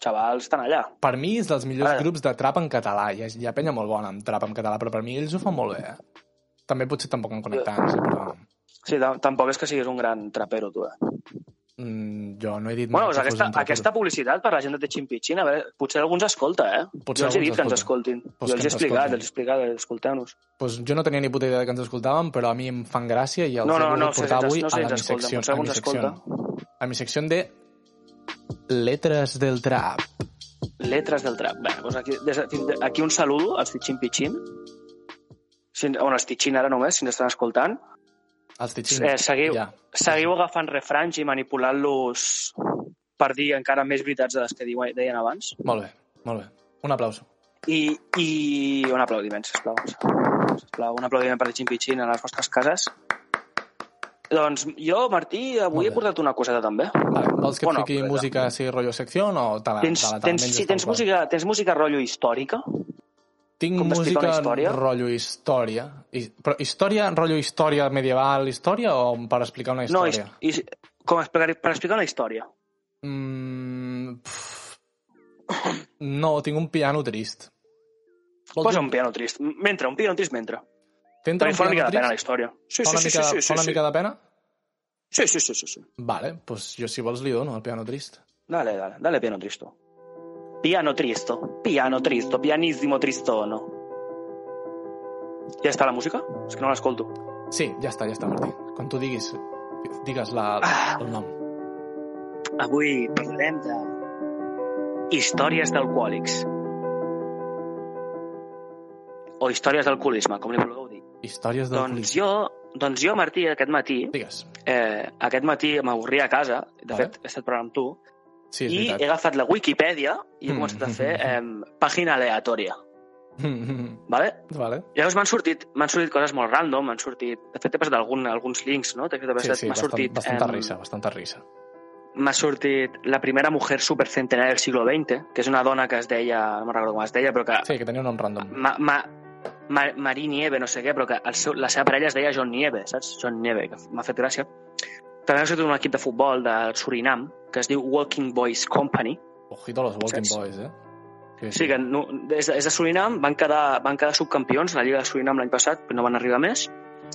xavals, estan allà.
Per mi és dels millors
Ara.
grups de trap en català. Hi ha, hi ha penya molt bona amb trap en català, però per mi ells ho fan molt bé. Eh? També potser tampoc en connectant, sí, però
Sí, tam- tampoc és que siguis un gran trapero, tu, eh?
mm, jo no he dit
Bueno,
mai
doncs
que fos
aquesta,
un trapero.
aquesta publicitat per la gent de Techin Pitchin, a veure, potser algú ens escolta, eh?
Potser
jo els he
algú
dit
ens
que ens escoltin.
Pues
jo
que
els he
ens
explicat,
escoltin.
els he explicat, escolteu-nos.
Pues jo no tenia ni puta idea que ens escoltàvem, però a mi em fan gràcia i els
No, no,
he
no,
volgut
si
portar
ens,
avui
no sé
a
si
la
ens
mi
escolta,
secció.
potser
A
algú
mi
ens
secció,
escolta.
a mi secció de Letres del Trap.
Letres del trap. Bé, doncs aquí, des, de- fins de- aquí un saludo als Tichin Pitchin. Si, on els Tichin ara només, si ens estan escoltant.
Els titxins.
Eh, seguiu,
Ja.
seguiu agafant refranys i manipulant-los per dir encara més veritats de les que diuen, deien abans.
Molt bé, molt bé. Un aplauso.
I, i un aplaudiment, sisplau. sisplau. Un aplaudiment per Xim Pitxin a les vostres cases. Doncs jo, Martí,
Molt
avui
bé.
he portat una coseta també.
Vale, vols que
Bueno,
fiqui
però ja.
música així, rotllo secció, o te la,
Tens,
te la, te la
tens,
menges
sí,
tal
tens
qual?
música, tens música rotllo històrica?
Tinc
com d'explicar
música
una història?
rotllo història. I, però història, rotllo història medieval, història, o per explicar una
No,
història?
i, i, com explicar, per explicar una història.
Mm, pff. no, tinc un piano trist. Vols
Posa
dir-
un piano trist. M- Mentre, un piano trist mentre.
T'entra
Però hi
un
Pues em- fa una mica
piano
de pena la
trist?
història. Sí,
Fa
sí,
una
sí,
mica,
sí, sí,
fa
sí,
una
sí.
mica de pena?
Sí, sí, sí, sí, sí.
Vale, doncs jo si vols li dono el piano trist.
Dale, dale, dale piano tristo. Piano tristo, piano tristo, pianissimo tristono. Ja està la música? És que no l'escolto.
Sí, ja està, ja està, Martí. Quan tu diguis, digues la,
Ah.
el nom.
Avui parlarem de... Històries d'alcohòlics. O històries d'alcoholisme, com li vulgueu dir.
Històries del
Doncs jo, doncs jo, Martí, aquest matí,
Digues.
eh, aquest matí m'avorria a casa, de
Vale.
fet he estat parlant amb tu,
Sí, és
i he
veritat.
agafat la Wikipedia i he
Mm.
començat a fer eh, pàgina aleatòria, vale?
vale.
Llavors m'han sortit, m'han sortit coses molt random, m'han sortit... De fet, he passat algun, alguns links, no? T'he- t'he
Sí,
passat-
sí,
m'ha
bastant,
sortit,
bastanta
em,
risa, bastanta risa.
M'ha sortit la primera mujer supercentenària del siglo XX, que és una dona que es deia... No me'n recordo com es deia, però que...
Sí, que tenia un nom random.
Ma, ma, ma, Marí Nieve, no sé què, però que el seu, la seva parella es deia John Nieve, saps? John Nieve, que m'ha fet gràcia. També ha sortit un equip de futbol de Surinam, que es diu Walking Boys Company,
Ojito a los Walking
Saps?
Boys, eh?
Sí, que no, és, és de Surinam, van quedar, van quedar subcampions a la Lliga de Surinam l'any passat, però no van arribar més.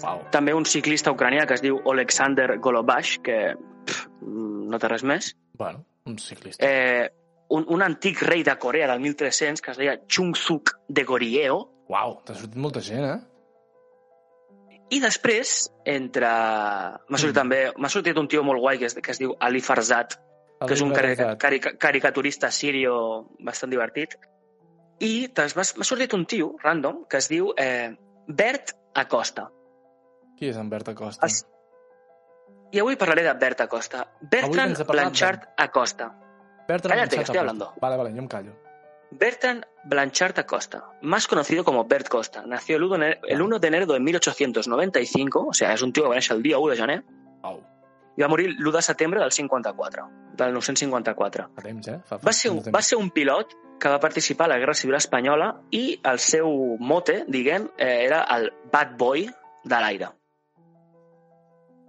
Uau.
També un ciclista ucranià que es diu Oleksandr Golobash, que pff, no té res més.
Bueno, un ciclista.
Eh, un, un antic rei de Corea del 1300 que es deia Chung Suk de Goryeo.
Uau, t'ha sortit molta gent, eh?
I després, entre... M'ha sortit,
Mm.
també, m'ha sortit un tio molt guai que es, que es diu Ali Farzad, que és un carica,
Arriba,
carica, caricaturista sirio bastant divertit. I t'has- m'ha m'ha sortit un tio random que es diu eh, Bert Acosta.
Qui és en Bert Acosta?
Es- I avui parlaré de Bert Acosta. Bertrand
ens ha parlat
Blanchard Acosta.
Bert
Cállate,
Acosta.
que estoy hablando.
Vale, vale, yo me callo.
Bertrand Blanchard Acosta, más conocido como Bert Costa, nació el 1 de enero- el 1 de enero de 1895, o sea, és un tio que va néixer el dia 1 de gener,
Uau,
i va morir l'1 de setembre del 54, del 954.
fa temps, eh? Fa, fa
Va ser, un, va ser un pilot que va participar a la Guerra Civil Espanyola i el seu mote, diguem, eh, era el bad boy de l'aire.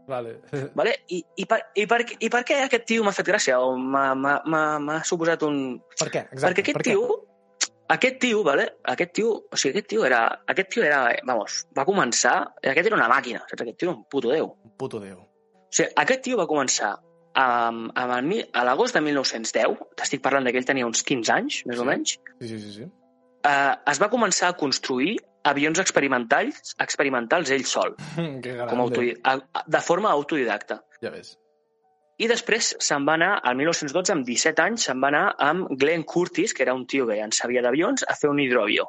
Vale.
Vale? I, i, per, i, per, I per què aquest tio m'ha fet gràcia o m'ha- m'ha m'ha- m'ha suposat un,
per què? Exacte.
Perquè aquest
per què?
tio, aquest tio, vale? aquest tio, o sigui, aquest tio era, aquest tio era, eh, vamos, va començar, aquest era una màquina, saps? Aquest tio era un puto déu.
Un puto déu.
O sigui, aquest tio va començar amb, amb el, mi- a l'agost de 1910, t'estic parlant de que ell tenia uns 15 anys, més
Sí.
o menys,
Sí, sí, sí. sí.
eh, es va començar a construir avions experimentals, experimentals ell sol,
que grande.
com autodi- a- a- de forma autodidacta.
Ja ves.
I després se'n va anar, al 1912, amb 17 anys, se'n va anar amb Glenn Curtis, que era un tio que ja en sabia d'avions, a fer un hidroavió.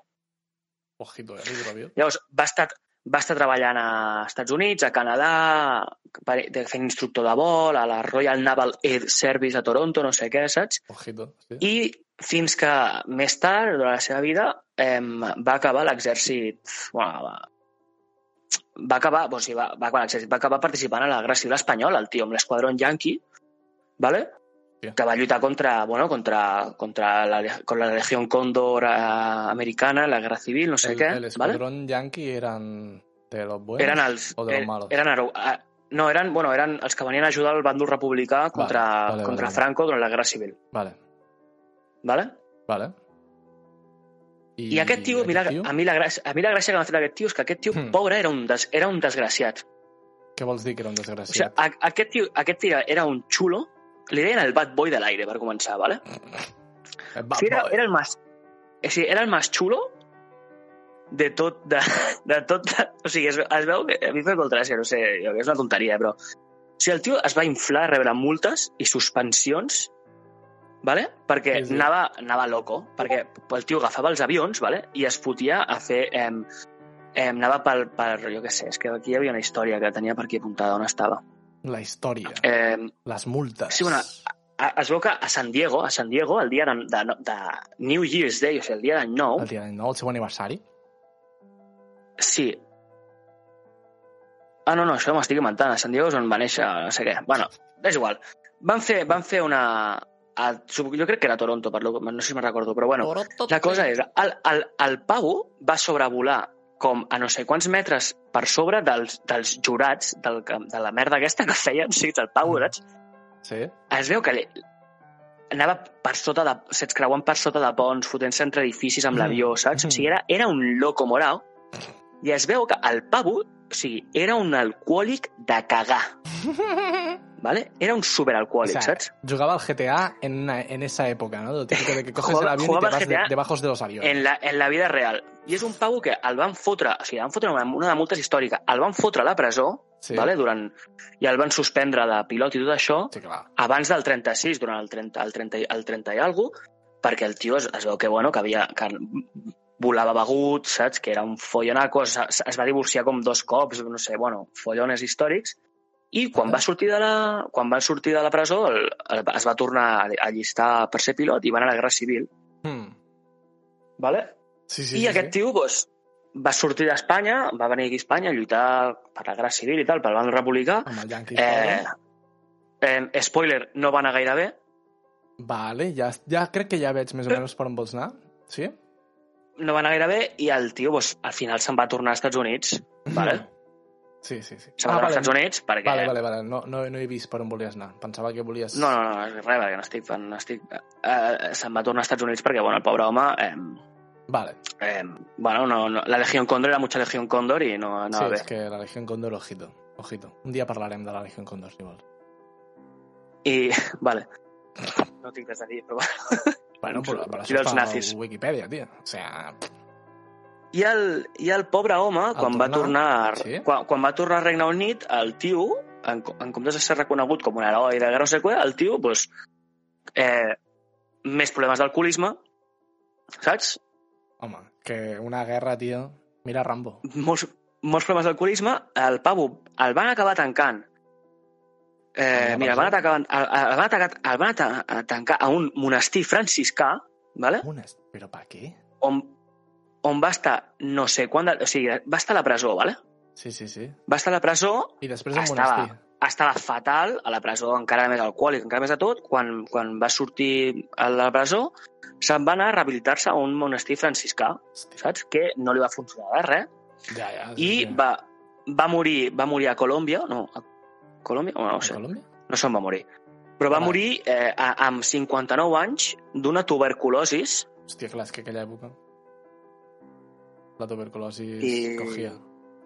Ojito, eh? Hidroavió.
Llavors, va estar, va estar treballant a Estats Units, a Canadà, per- de- fent instructor de vol, a la Royal Naval Air Service a Toronto, no sé què, saps?
Ojito. Sí.
I fins que més tard, durant la seva vida, em, va acabar l'exèrcit... Bueno, va, va acabar, o sigui, va, va, acabar l'exèrcit, va acabar participant a la Guerra Civil Espanyola, el tio, amb l'esquadró Yankee, ¿vale?
Hòstia.
que va lluitar contra, bueno, contra, contra la, con la Legión Cóndor eh, americana, la Guerra Civil, no sé
el,
què.
el
¿vale?
esquadrón yankee eran de los buenos.
Eren els...
o de los
er-
malos?
Eren, ero- ah, no, eren, bueno, eren els que venien a ajudar el bàndol republicà contra,
vale, vale,
contra
vale.
Franco durant la Guerra Civil.
Vale,
Vale?
vale.
I, I aquest tio, mira,
tio?
A, mi la gràcia, a mi la gràcia que m'ha fet aquest tio és que aquest tio,
Hmm.
hmm. pobre, era un, des, era un desgraciat.
Què vols dir que era un
O sigui,
desgraciat?
a, aquest, tio, aquest tio era un xulo, li deien el bad boy de l'aire, per començar, vale?
Eh,
O
va,
sigui, era,
va,
era, el más, o sigui, era el más xulo de tot, de, de tot, de, o sigui, es, es veu que a mi em fa molta gràcia, no sé, jo crec que és una tonteria, però... O sigui, el tio es va inflar a rebre multes i suspensions, ¿vale? perquè
Sí,
sí,
sí.
sí. Anava, anava loco, perquè el tio agafava els avions ¿vale? i es fotia a fer... Eh, Eh, anava pel, per, jo què sé, és que aquí hi havia una història que tenia per aquí apuntada on estava.
La història,
Eh,
les multes.
sí, bueno, a, es veu que a San Diego, a San Diego, el dia de, de, de New Year's Day, o sigui, el dia d'any nou,
El dia del nou, el seu aniversari.
Sí. Ah, no, no, això m'estic inventant. A San Diego és on va néixer, no sé què. Bueno, és igual. Van fer, van fer una... A, sup- jo crec que era a Toronto, per lo, no sé si me'n recordo, però bueno, la cosa és, el, el, el Pau va sobrevolar com a no sé quants metres per sobre dels, dels jurats, del, que- de la merda aquesta que feien, sí, del Pau, saps?
Sí.
Es veu que li, anava per sota de... Saps, creuant per sota de ponts, fotent-se entre edificis amb
Mm.
l'avió, saps? O sigui, era, era un loco morao. I es veu que el pavo, o sigui, era un alcohòlic de cagar, ¿vale? Era un superalcohòlic, saps?
jugaba al GTA en, una- en esa época, ¿no? Lo típico de que coges
Jugaba-
el avión y
jugaba
te
al
vas de-
GTA
debajo de los aviones.
En la, en la vida real. I és un pavo que el van fotre, o sigui, van fotre una, una de multes històrica, el van fotre a la presó,
Sí.
¿vale? Durant, I el van suspendre de pilot i tot això,
Sí, clar.
abans del 36, durant el 30, el 30, i- el 30 i algo, perquè el tio es, es veu que, bueno, que, havia, que volava begut, saps? Que era un follonaco, es, es- es va divorciar com dos cops, no sé, bueno, follones històrics. I quan va sortir de la, quan va sortir de la presó, el, el, es va tornar a llistar per ser pilot i va anar a la Guerra Civil,
Hmm.
¿vale?
Sí, sí,
Sí, I
sí,
aquest
sí.
tio doncs, va sortir d'Espanya, va venir aquí a Espanya a lluitar per la Guerra Civil i tal, pel bando republicà.
Amb el Yankee
Eh, eh, spoiler, no va anar gaire bé,
Vale, ja, ja crec que ja veig
Eh.
més o menys per on vols anar. Sí?
no va anar gaire bé i el tio pues, al final se'n va tornar als Estats Units. Vale.
Sí, sí, sí.
Se'n va tornar als Estats Units perquè...
Mhm. Ah, vale, vale, vale. No, no, no he vist per on volies anar. Pensava que volies...
No, no, no, res, perquè no estic... No estic eh, se'n va tornar als Estats Units perquè, bueno, el pobre home... Eh,
Vale.
eh, bueno, no, no, la Legión Cóndor era mucha Legión Cóndor i no
sí,
anava
és
bé.
que la Legión Condor, ojito. Ojito. Un dia parlarem de la Legión Condor, si vols.
I, vale. No tinc res a dir, però bueno.
Bueno, però, però això
Tira els
està
nazis.
a Wikipedia, tio. O sea,
I el, I el pobre home,
El
quan va, tornar,
tornar- sí.
quan, quan va tornar al Regne Unit, el tio, en, co- en comptes de ser reconegut com un heroi de guerra no sé què, el tio, doncs, eh, més problemes d'alcoholisme, saps?
home, que una guerra, tio... Mira Rambo.
molts, molts problemes d'alcoholisme, el Pavo el van acabar tancant. Eh,
Ah,
mira, el van, atacar, el, el, van atacar, el van ata- a tancar a un monestir franciscà, ¿vale?
Unes... Però per què?
on, on va estar no sé quan... De, o sigui, va estar a la presó, ¿vale?
Sí, sí, sí.
va estar a la presó
I després un
Estava-
monestir.
estava fatal a la presó, encara més alcohòlic, encara més de tot, quan, quan va sortir a la presó, se'n va anar a rehabilitar-se a un monestir franciscà,
Hòstia.
saps? Que no li va funcionar de res,
Ja, ja. sí,
i
sí.
va, va, morir, va morir a Colòmbia, no, a Colòmbia? Bueno, no,
A
sé,
Colòmbia?
no sé on va morir. Però va
Ah, va.
morir eh, a, amb 59 anys d'una tuberculosis
Hòstia, clar, és que aquella època... La tuberculosi
I-
I... cogia.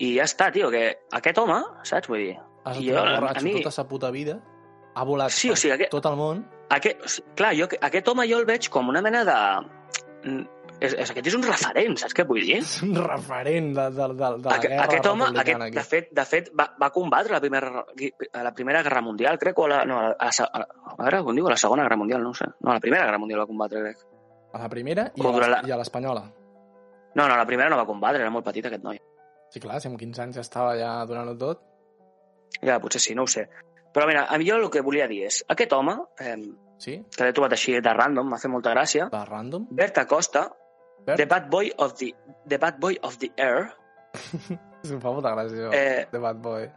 i ja està, tio, que aquest home, saps? Vull dir,
Has
I
estat
jo, a- a
borratxo
mi-
tota sa puta vida, ha volat
Sí,
per
o sigui, aquest-
tot el món,
aquest, o sigui, clar, jo, aquest home jo el veig com una mena de... Mm, És, és, aquest és un referent, saps què et vull dir?
és un referent de, de, de, de la
Aqu
guerra
aquest home,
republicana
aquest, de
aquí.
fet, de fet va, va combatre la primera, a la primera Guerra Mundial, crec, o a la, no, a la, a la, se- a la, a veure, on diu? A la Segona Guerra Mundial, no ho sé. No, a la Primera Guerra Mundial va combatre, crec.
A la primera i a,
Contra
la...
la-
i a l'espanyola.
No, no, la primera no va combatre, era molt petit aquest noi.
Sí, clar, si amb 15 anys ja estava ja donant-ho tot.
Ja, potser sí, no ho sé. Però mira, a mi jo el que volia dir és, aquest home, eh,
Sí,
que l'he trobat així de random, m'ha fet molta gràcia,
de random.
Bert Acosta,
Bert?
The Bad Boy of the, the, bad boy of the Air,
És que em fa molta gràcia, això,
eh,
de Bad Boy.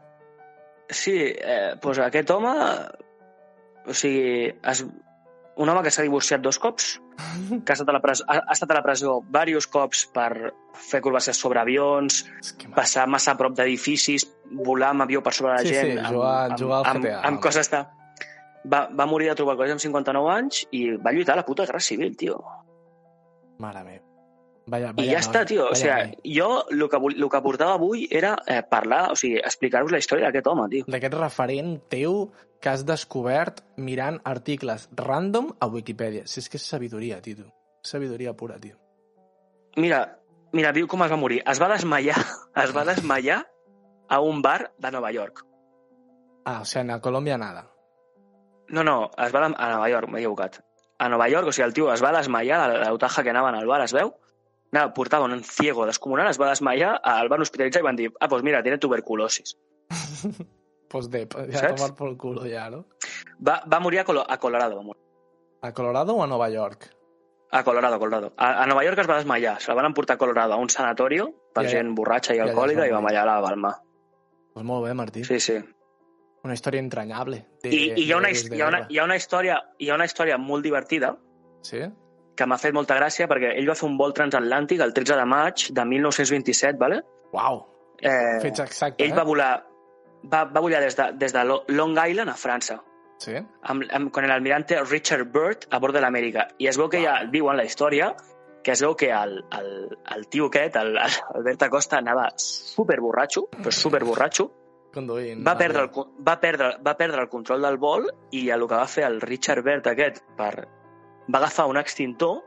sí, eh, doncs aquest home, o sigui, es, un home que s'ha divorciat dos cops, que ha estat a la presó, ha, ha estat a la presó diversos cops per fer curvacions sobre avions,
És que mal.
passar massa a prop d'edificis, volar amb avió per sobre la
Sí,
gent...
sí, jugar- jugar al
amb,
GTA,
amb, amb
vale.
coses de... Va, va morir de tuberculosi amb 59 anys i va lluitar a la puta guerra civil, tio.
Mare meva. Vaya,
I
vaya
ja està,
noi,
tio. O
vaya
sigui,
noi.
jo el que, vol- el que portava avui era eh, parlar, o sigui, explicar-vos la història d'aquest home, tio.
d'aquest referent teu que has descobert mirant articles random a Wikipedia. Si és que és sabidoria, tio. Sabidoria pura, tio.
Mira, mira, viu com es va morir. Es va desmaiar, es va desmaiar a un bar de Nova York.
Ah, o sigui, a Colòmbia nada.
No, no, es va de- a Nova York, m'he equivocat. A Nova York, o sigui, el tio es va desmaiar de la- de l'otaja que anaven al bar, es veu, Nada, portava un ciego descomunal, es va desmaiar, el van hospitalitzar i van dir, ah, doncs mira, tiene tuberculosis.
Pues dep, ja
Saps?
tomar por culo ja, no?
Va, va morir a, Colo a Colorado, va morir.
A Colorado o a Nova York?
A Colorado, Colorado. A, a Nova York es va desmaiar. Se la van emportar a Colorado a un sanatorio per
I allà-
gent borratxa i
allà es va
alcohòlica i va
morir.
mallar a la Balma.
Pues molt bé, Martí.
Sí, sí.
Una història entranyable. De,
I, i hi, ha una,
de
his-
héroes de
hi, ha una,
guerra.
hi, ha una història, hi ha una història molt divertida
Sí?
que m'ha fet molta gràcia perquè ell va fer un vol transatlàntic el 13 de maig de 1927, vale?
Uau!
Eh,
Fets exacte,
ell
eh?
va volar, va, va volar des de, des de Lo- Long Island a França
Sí?
amb, amb, con el almirante Richard Byrd a bord de l'Amèrica. I es veu que ja diuen la història que es veu que el, el, el tio aquest, el, el Albert Acosta, anava superborratxo, però superborratxo,
Conduint.
va perdre, el, con- va, perdre, va perdre el control del vol i el que va fer el Richard Byrd aquest per... va agafar un extintor,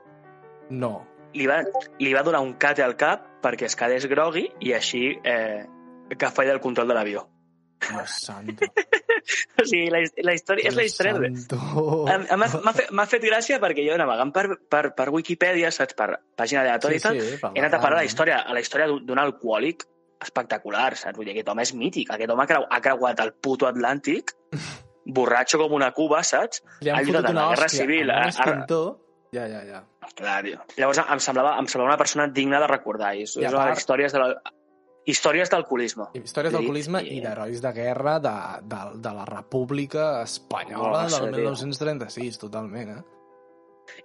No.
li va, li va donar un cate al cap perquè es quedés grogui i així eh, que falla el control de l'avió.
No, santo.
O sigui, la, his- la història, és la història de,
Santo.
Em- em- M'ha m'ha fet, m'ha fet gràcia perquè jo navegant per, per, per Wikipedia, saps, per pàgina aleatòria sí, sí. i
sí, eh,
tal, he anat a parar a la història, a la història d'un d'un alcohòlic espectacular, saps? Vull dir, aquest home és mític, aquest home ha, creu, ha creuat el puto Atlàntic, borratxo com una cuba, saps?
Li han
allò
fotut
de la
una
guerra
hòstia
civil,
amb
a-
un
a-
escantó. Ja, ja, ja.
Clar, tio. Llavors em semblava, em semblava una persona digna de recordar. I és,
I
és
a
una de
part-
les històries de la, històries d'alcoholisme.
Històries
Sí,
d'alcoholisme
sí.
i d'herois de guerra de, de, de la República Espanyola
Hola,
del
seria.
1936, totalment, eh?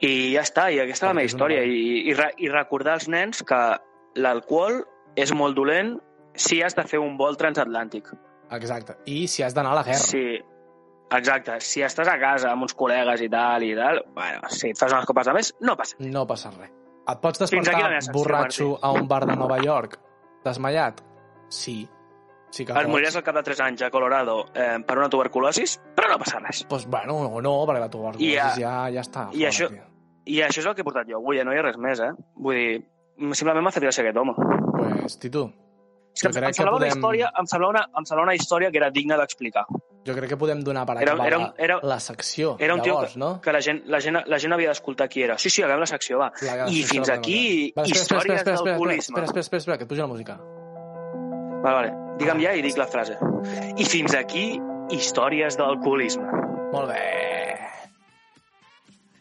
I ja està, i aquesta és la meva
Perquè és un
història. I, i, re- I recordar als nens que l'alcohol és molt dolent si has de fer un vol transatlàntic.
Exacte. I si has d'anar a la guerra.
Sí, exacte. Si estàs a casa amb uns col·legues i tal, i tal, bueno, si et fas unes copes de més, no passa.
No passa res. Et pots
Fins aquí
despertar
la meva secció,
borratxo a un bar de Nova York desmaiat? Sí. Sí que
Et moriràs
pots.
al cap de 3 anys a Colorado eh, per una tuberculosis, però no passa res.
Pues Doncs, bueno, o no, perquè la tuberculosi
I a-
ja, ja està.
i
fora,
això-
tio.
I això és el que he portat jo avui, eh? no hi ha res més, eh? Vull dir, simplement m'ha fet gràcia aquest home.
Pues, Titu,
És que
Jo
em,
crec
em, semblava
que
una
podem-
història, em, semblava una, em semblava una història que era digna d'explicar.
jo crec que podem donar per
Era-
acabar
era
la-
un- era-
la secció,
era un tio
llavors, no?
Que la gent, la, gent, la gent havia d'escoltar qui era. Sí, sí, acabem la secció, va.
La- la
I
secció
fins
la podem
aquí,
acabar. espera, espera, espera,
històries
espera,
d'alcoholisme.
Espera, espera, espera, espera, que et puja la música.
Vale, vale. Digue'm ja i dic la frase. I fins aquí, històries d'alcoholisme.
Molt bé.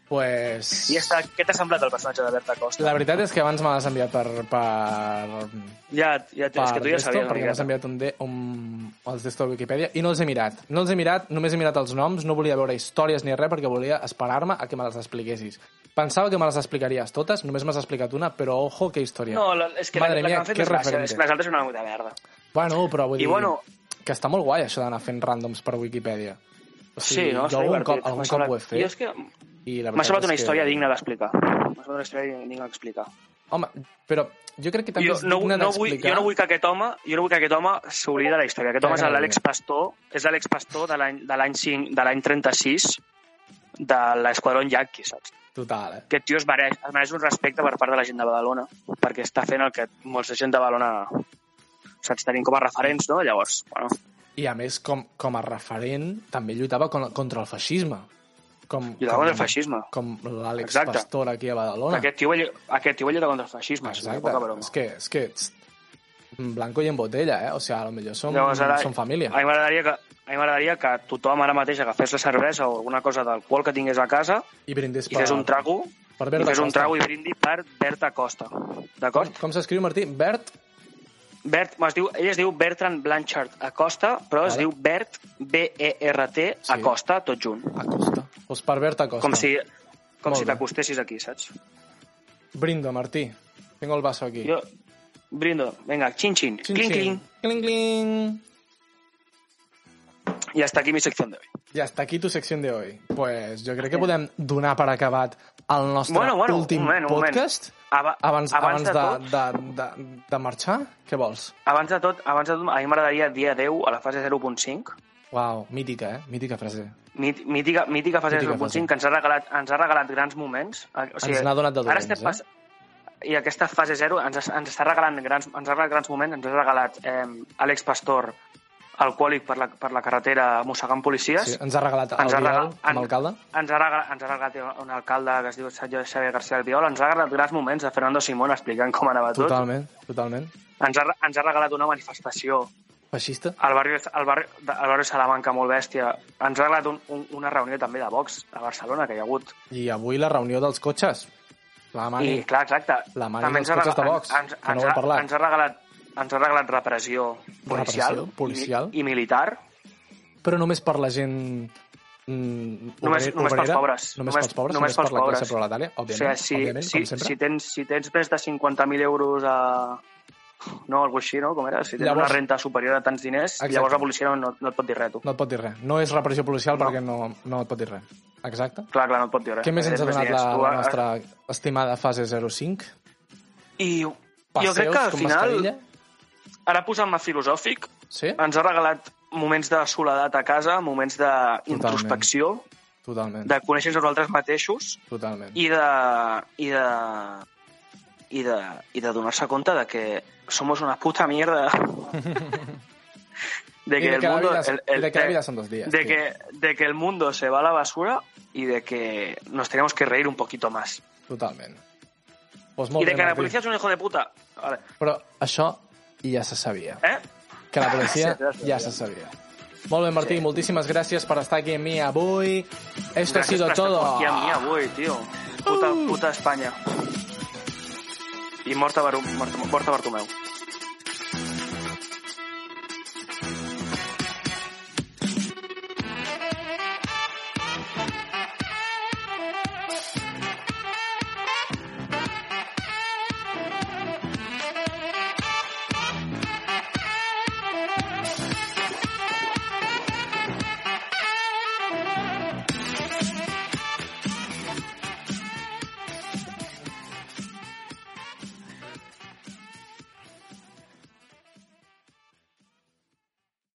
Pues...
I ja està. Què t'ha semblat el personatge de Berta Costa?
La veritat és que abans me l'has enviat per... per...
Ja, ja tens, que tu ja
desto,
sabies.
perquè m'has
Sabia.
enviat un de, un, els de de Wikipedia i no els he mirat. No els he mirat, només he mirat els noms, no volia veure històries ni res perquè volia esperar-me a que me les expliquessis. Pensava que me les explicaries totes, només m'has explicat una, però ojo, que història.
No, la, és que
Madre
la, la que
mía,
m'han fet
qué
més gràcia, és
referente.
que les altres són una puta merda.
Bueno, però vull
I
dir...
bueno,
Que està molt guai, això d'anar fent ràndoms per Wikipedia. O
sí, no?
jo
Està
algun
divertit.
cop,
M'ha
algun
semblat-
cop ho he
Jo
fet.
és que
I la
m'ha
veritat
semblat
és
una
que-
història digna d'explicar. M'ha semblat una història digna d'explicar.
Home, però jo crec que també
Jo
és
no,
digna
no vull,
d'explicar...
jo no vull que aquest home, jo no vull que aquest home s'oblidi de la història. Aquest
Ja,
home és
ja, ja.
l'Àlex Pastor, és l'Àlex Pastor de l'any de l'any cinc- de l'any 36 de l'esquadró Yankee, saps?
Total, eh?
Aquest tio es mereix, es mereix un respecte per part de la gent de Badalona, perquè està fent el que molts de gent de Badalona saps, tenim com a referents, no? Llavors, bueno,
I a més, com, com a referent, també lluitava con, contra el feixisme. Com,
lluitar
com,
contra el feixisme.
Com l'Àlex
Exacte.
Pastor aquí a Badalona.
Aquest tio, va llu- aquest tio va lluitar contra el feixisme, és una poca broma.
És que, és que txt, en blanco i en botella, eh? O sigui, a lo millor som,
Llavors, ara-
som família.
A mi m'agradaria que a mi m'agradaria que tothom ara mateix agafés la cervesa o alguna cosa d'alcohol que tingués a casa
I brindis
i fes un trago
per
I
Berta
fes un
Costa.
trago i brindi per Berta Costa. D'acord?
Com s'escriu, Martí? Bert?
Bert, es diu, ell es diu Bertrand Blanchard Acosta, però es
Vale.
diu Bert, B-E-R-T,
Sí.
Acosta, tot junt.
Acosta. Doncs per Bert Acosta.
Com si, com
Molt
si
bé.
t'acostessis aquí, saps?
Brindo, Martí. Tengo el vaso aquí.
Jo, brindo, vinga, xin-xin,
Xin,
clink-clink,
xin. Cling, cling.
i hasta aquí mi secció d'avui.
I hasta aquí tu secció de hoy. Pues jo crec que podem donar per acabat el nostre
Bueno, bueno, un
últim
moment, un moment.
podcast.
Aba,
Abans, abans,
de, tot,
de, de, de, de, marxar? Què vols?
abans de tot, abans de tot, a mi m'agradaria dir adeu a la fase 0.5,
Uau, mítica, eh? Mítica frase.
Mít- mítica, mítica fase
Mítica
0.5
fase.
que ens ha regalat, ens ha regalat grans moments. eh, O sigui,
Ens n'ha donat de
ara
dolents, eh?
estem pas... I aquesta fase 0 ens, ens està regalant grans, ens ha regalat grans moments, ens ha regalat eh, Àlex Pastor alcohòlic per la, per la carretera mossegant policies.
Sí, ens ha regalat el
ha
Biel,
regal-
amb alcalde.
Ens ha, regal, ens ha regalat un alcalde que es diu senyor Xavier García Albiol, ens ha regalat grans moments de Fernando Simón explicant com anava tot.
Totalment, totalment.
Ens ha, ens ha regalat una manifestació
Feixista?
al barri, al barri, de- al barri Salamanca molt bèstia. Ens ha regalat un, un, una reunió també de Vox a Barcelona que hi ha hagut.
I avui la reunió dels cotxes. La mani.
I clar, exacte.
La mani
també
dels
ens ha
cotxes de
regalat-
Vox,
ens,
que no
ens,
vol
ha-
parlar.
ens ha regalat ens ha regalat repressió policial,
Repressió policial.
I, i militar.
Però només per la gent mm,
Només-
obrera-
només pels
obrera,
pobres.
Només,
Només-
pels pobres, només,
només pels
per la classe
pobres.
proletària,
O
òbviament,
sigui, si,
òbviament
si,
com sempre.
si, tens, si tens més de 50.000 euros a... No, alguna així, no? Com era? Si tens
Llavors-
llavors... una renta superior a tants diners,
Exacte.
llavors la policia no, no et pot dir res, tu.
No et pot dir res. No és repressió policial
No.
perquè no, no et pot dir res. Exacte.
Clar, clar, no et pot dir res.
Què més ens
Tens
ha donat la,
diners. Tu,
la
eh,
nostra estimada fase 05?
I
Passeus
jo crec que al
com
final,
mascarilla?
ara posant-me filosòfic,
Sí?
ens ha regalat moments de soledat a casa, moments d'introspecció,
Totalment,
de conèixer-nos nosaltres mateixos
totalment.
i de i de i de, i de donar-se compte de que somos una puta mierda de que
I de
el
que la
mundo
vida és-
el, el-
i de que la vida són dos dies.
de
tio.
que de que el mundo se va a la basura y de que nos tenemos que reír un poquito más
Totalment. Pues
y
molt
de
bé,
que la
Martí.
policía es un hijo de puta vale.
Però això ja se sabia.
eh
Que la policia
Sí, ja se
ja se sabia. Molt bé, Martí,
Sí.
moltíssimas gràcies per estar aquí amb mi avui. Esto ha
Gracias
sido
por esta
todo. Uh.
hostia mía, güey, tío. Puta, puta España. Y Morta, Barum, Morta, Morta Bartomeu.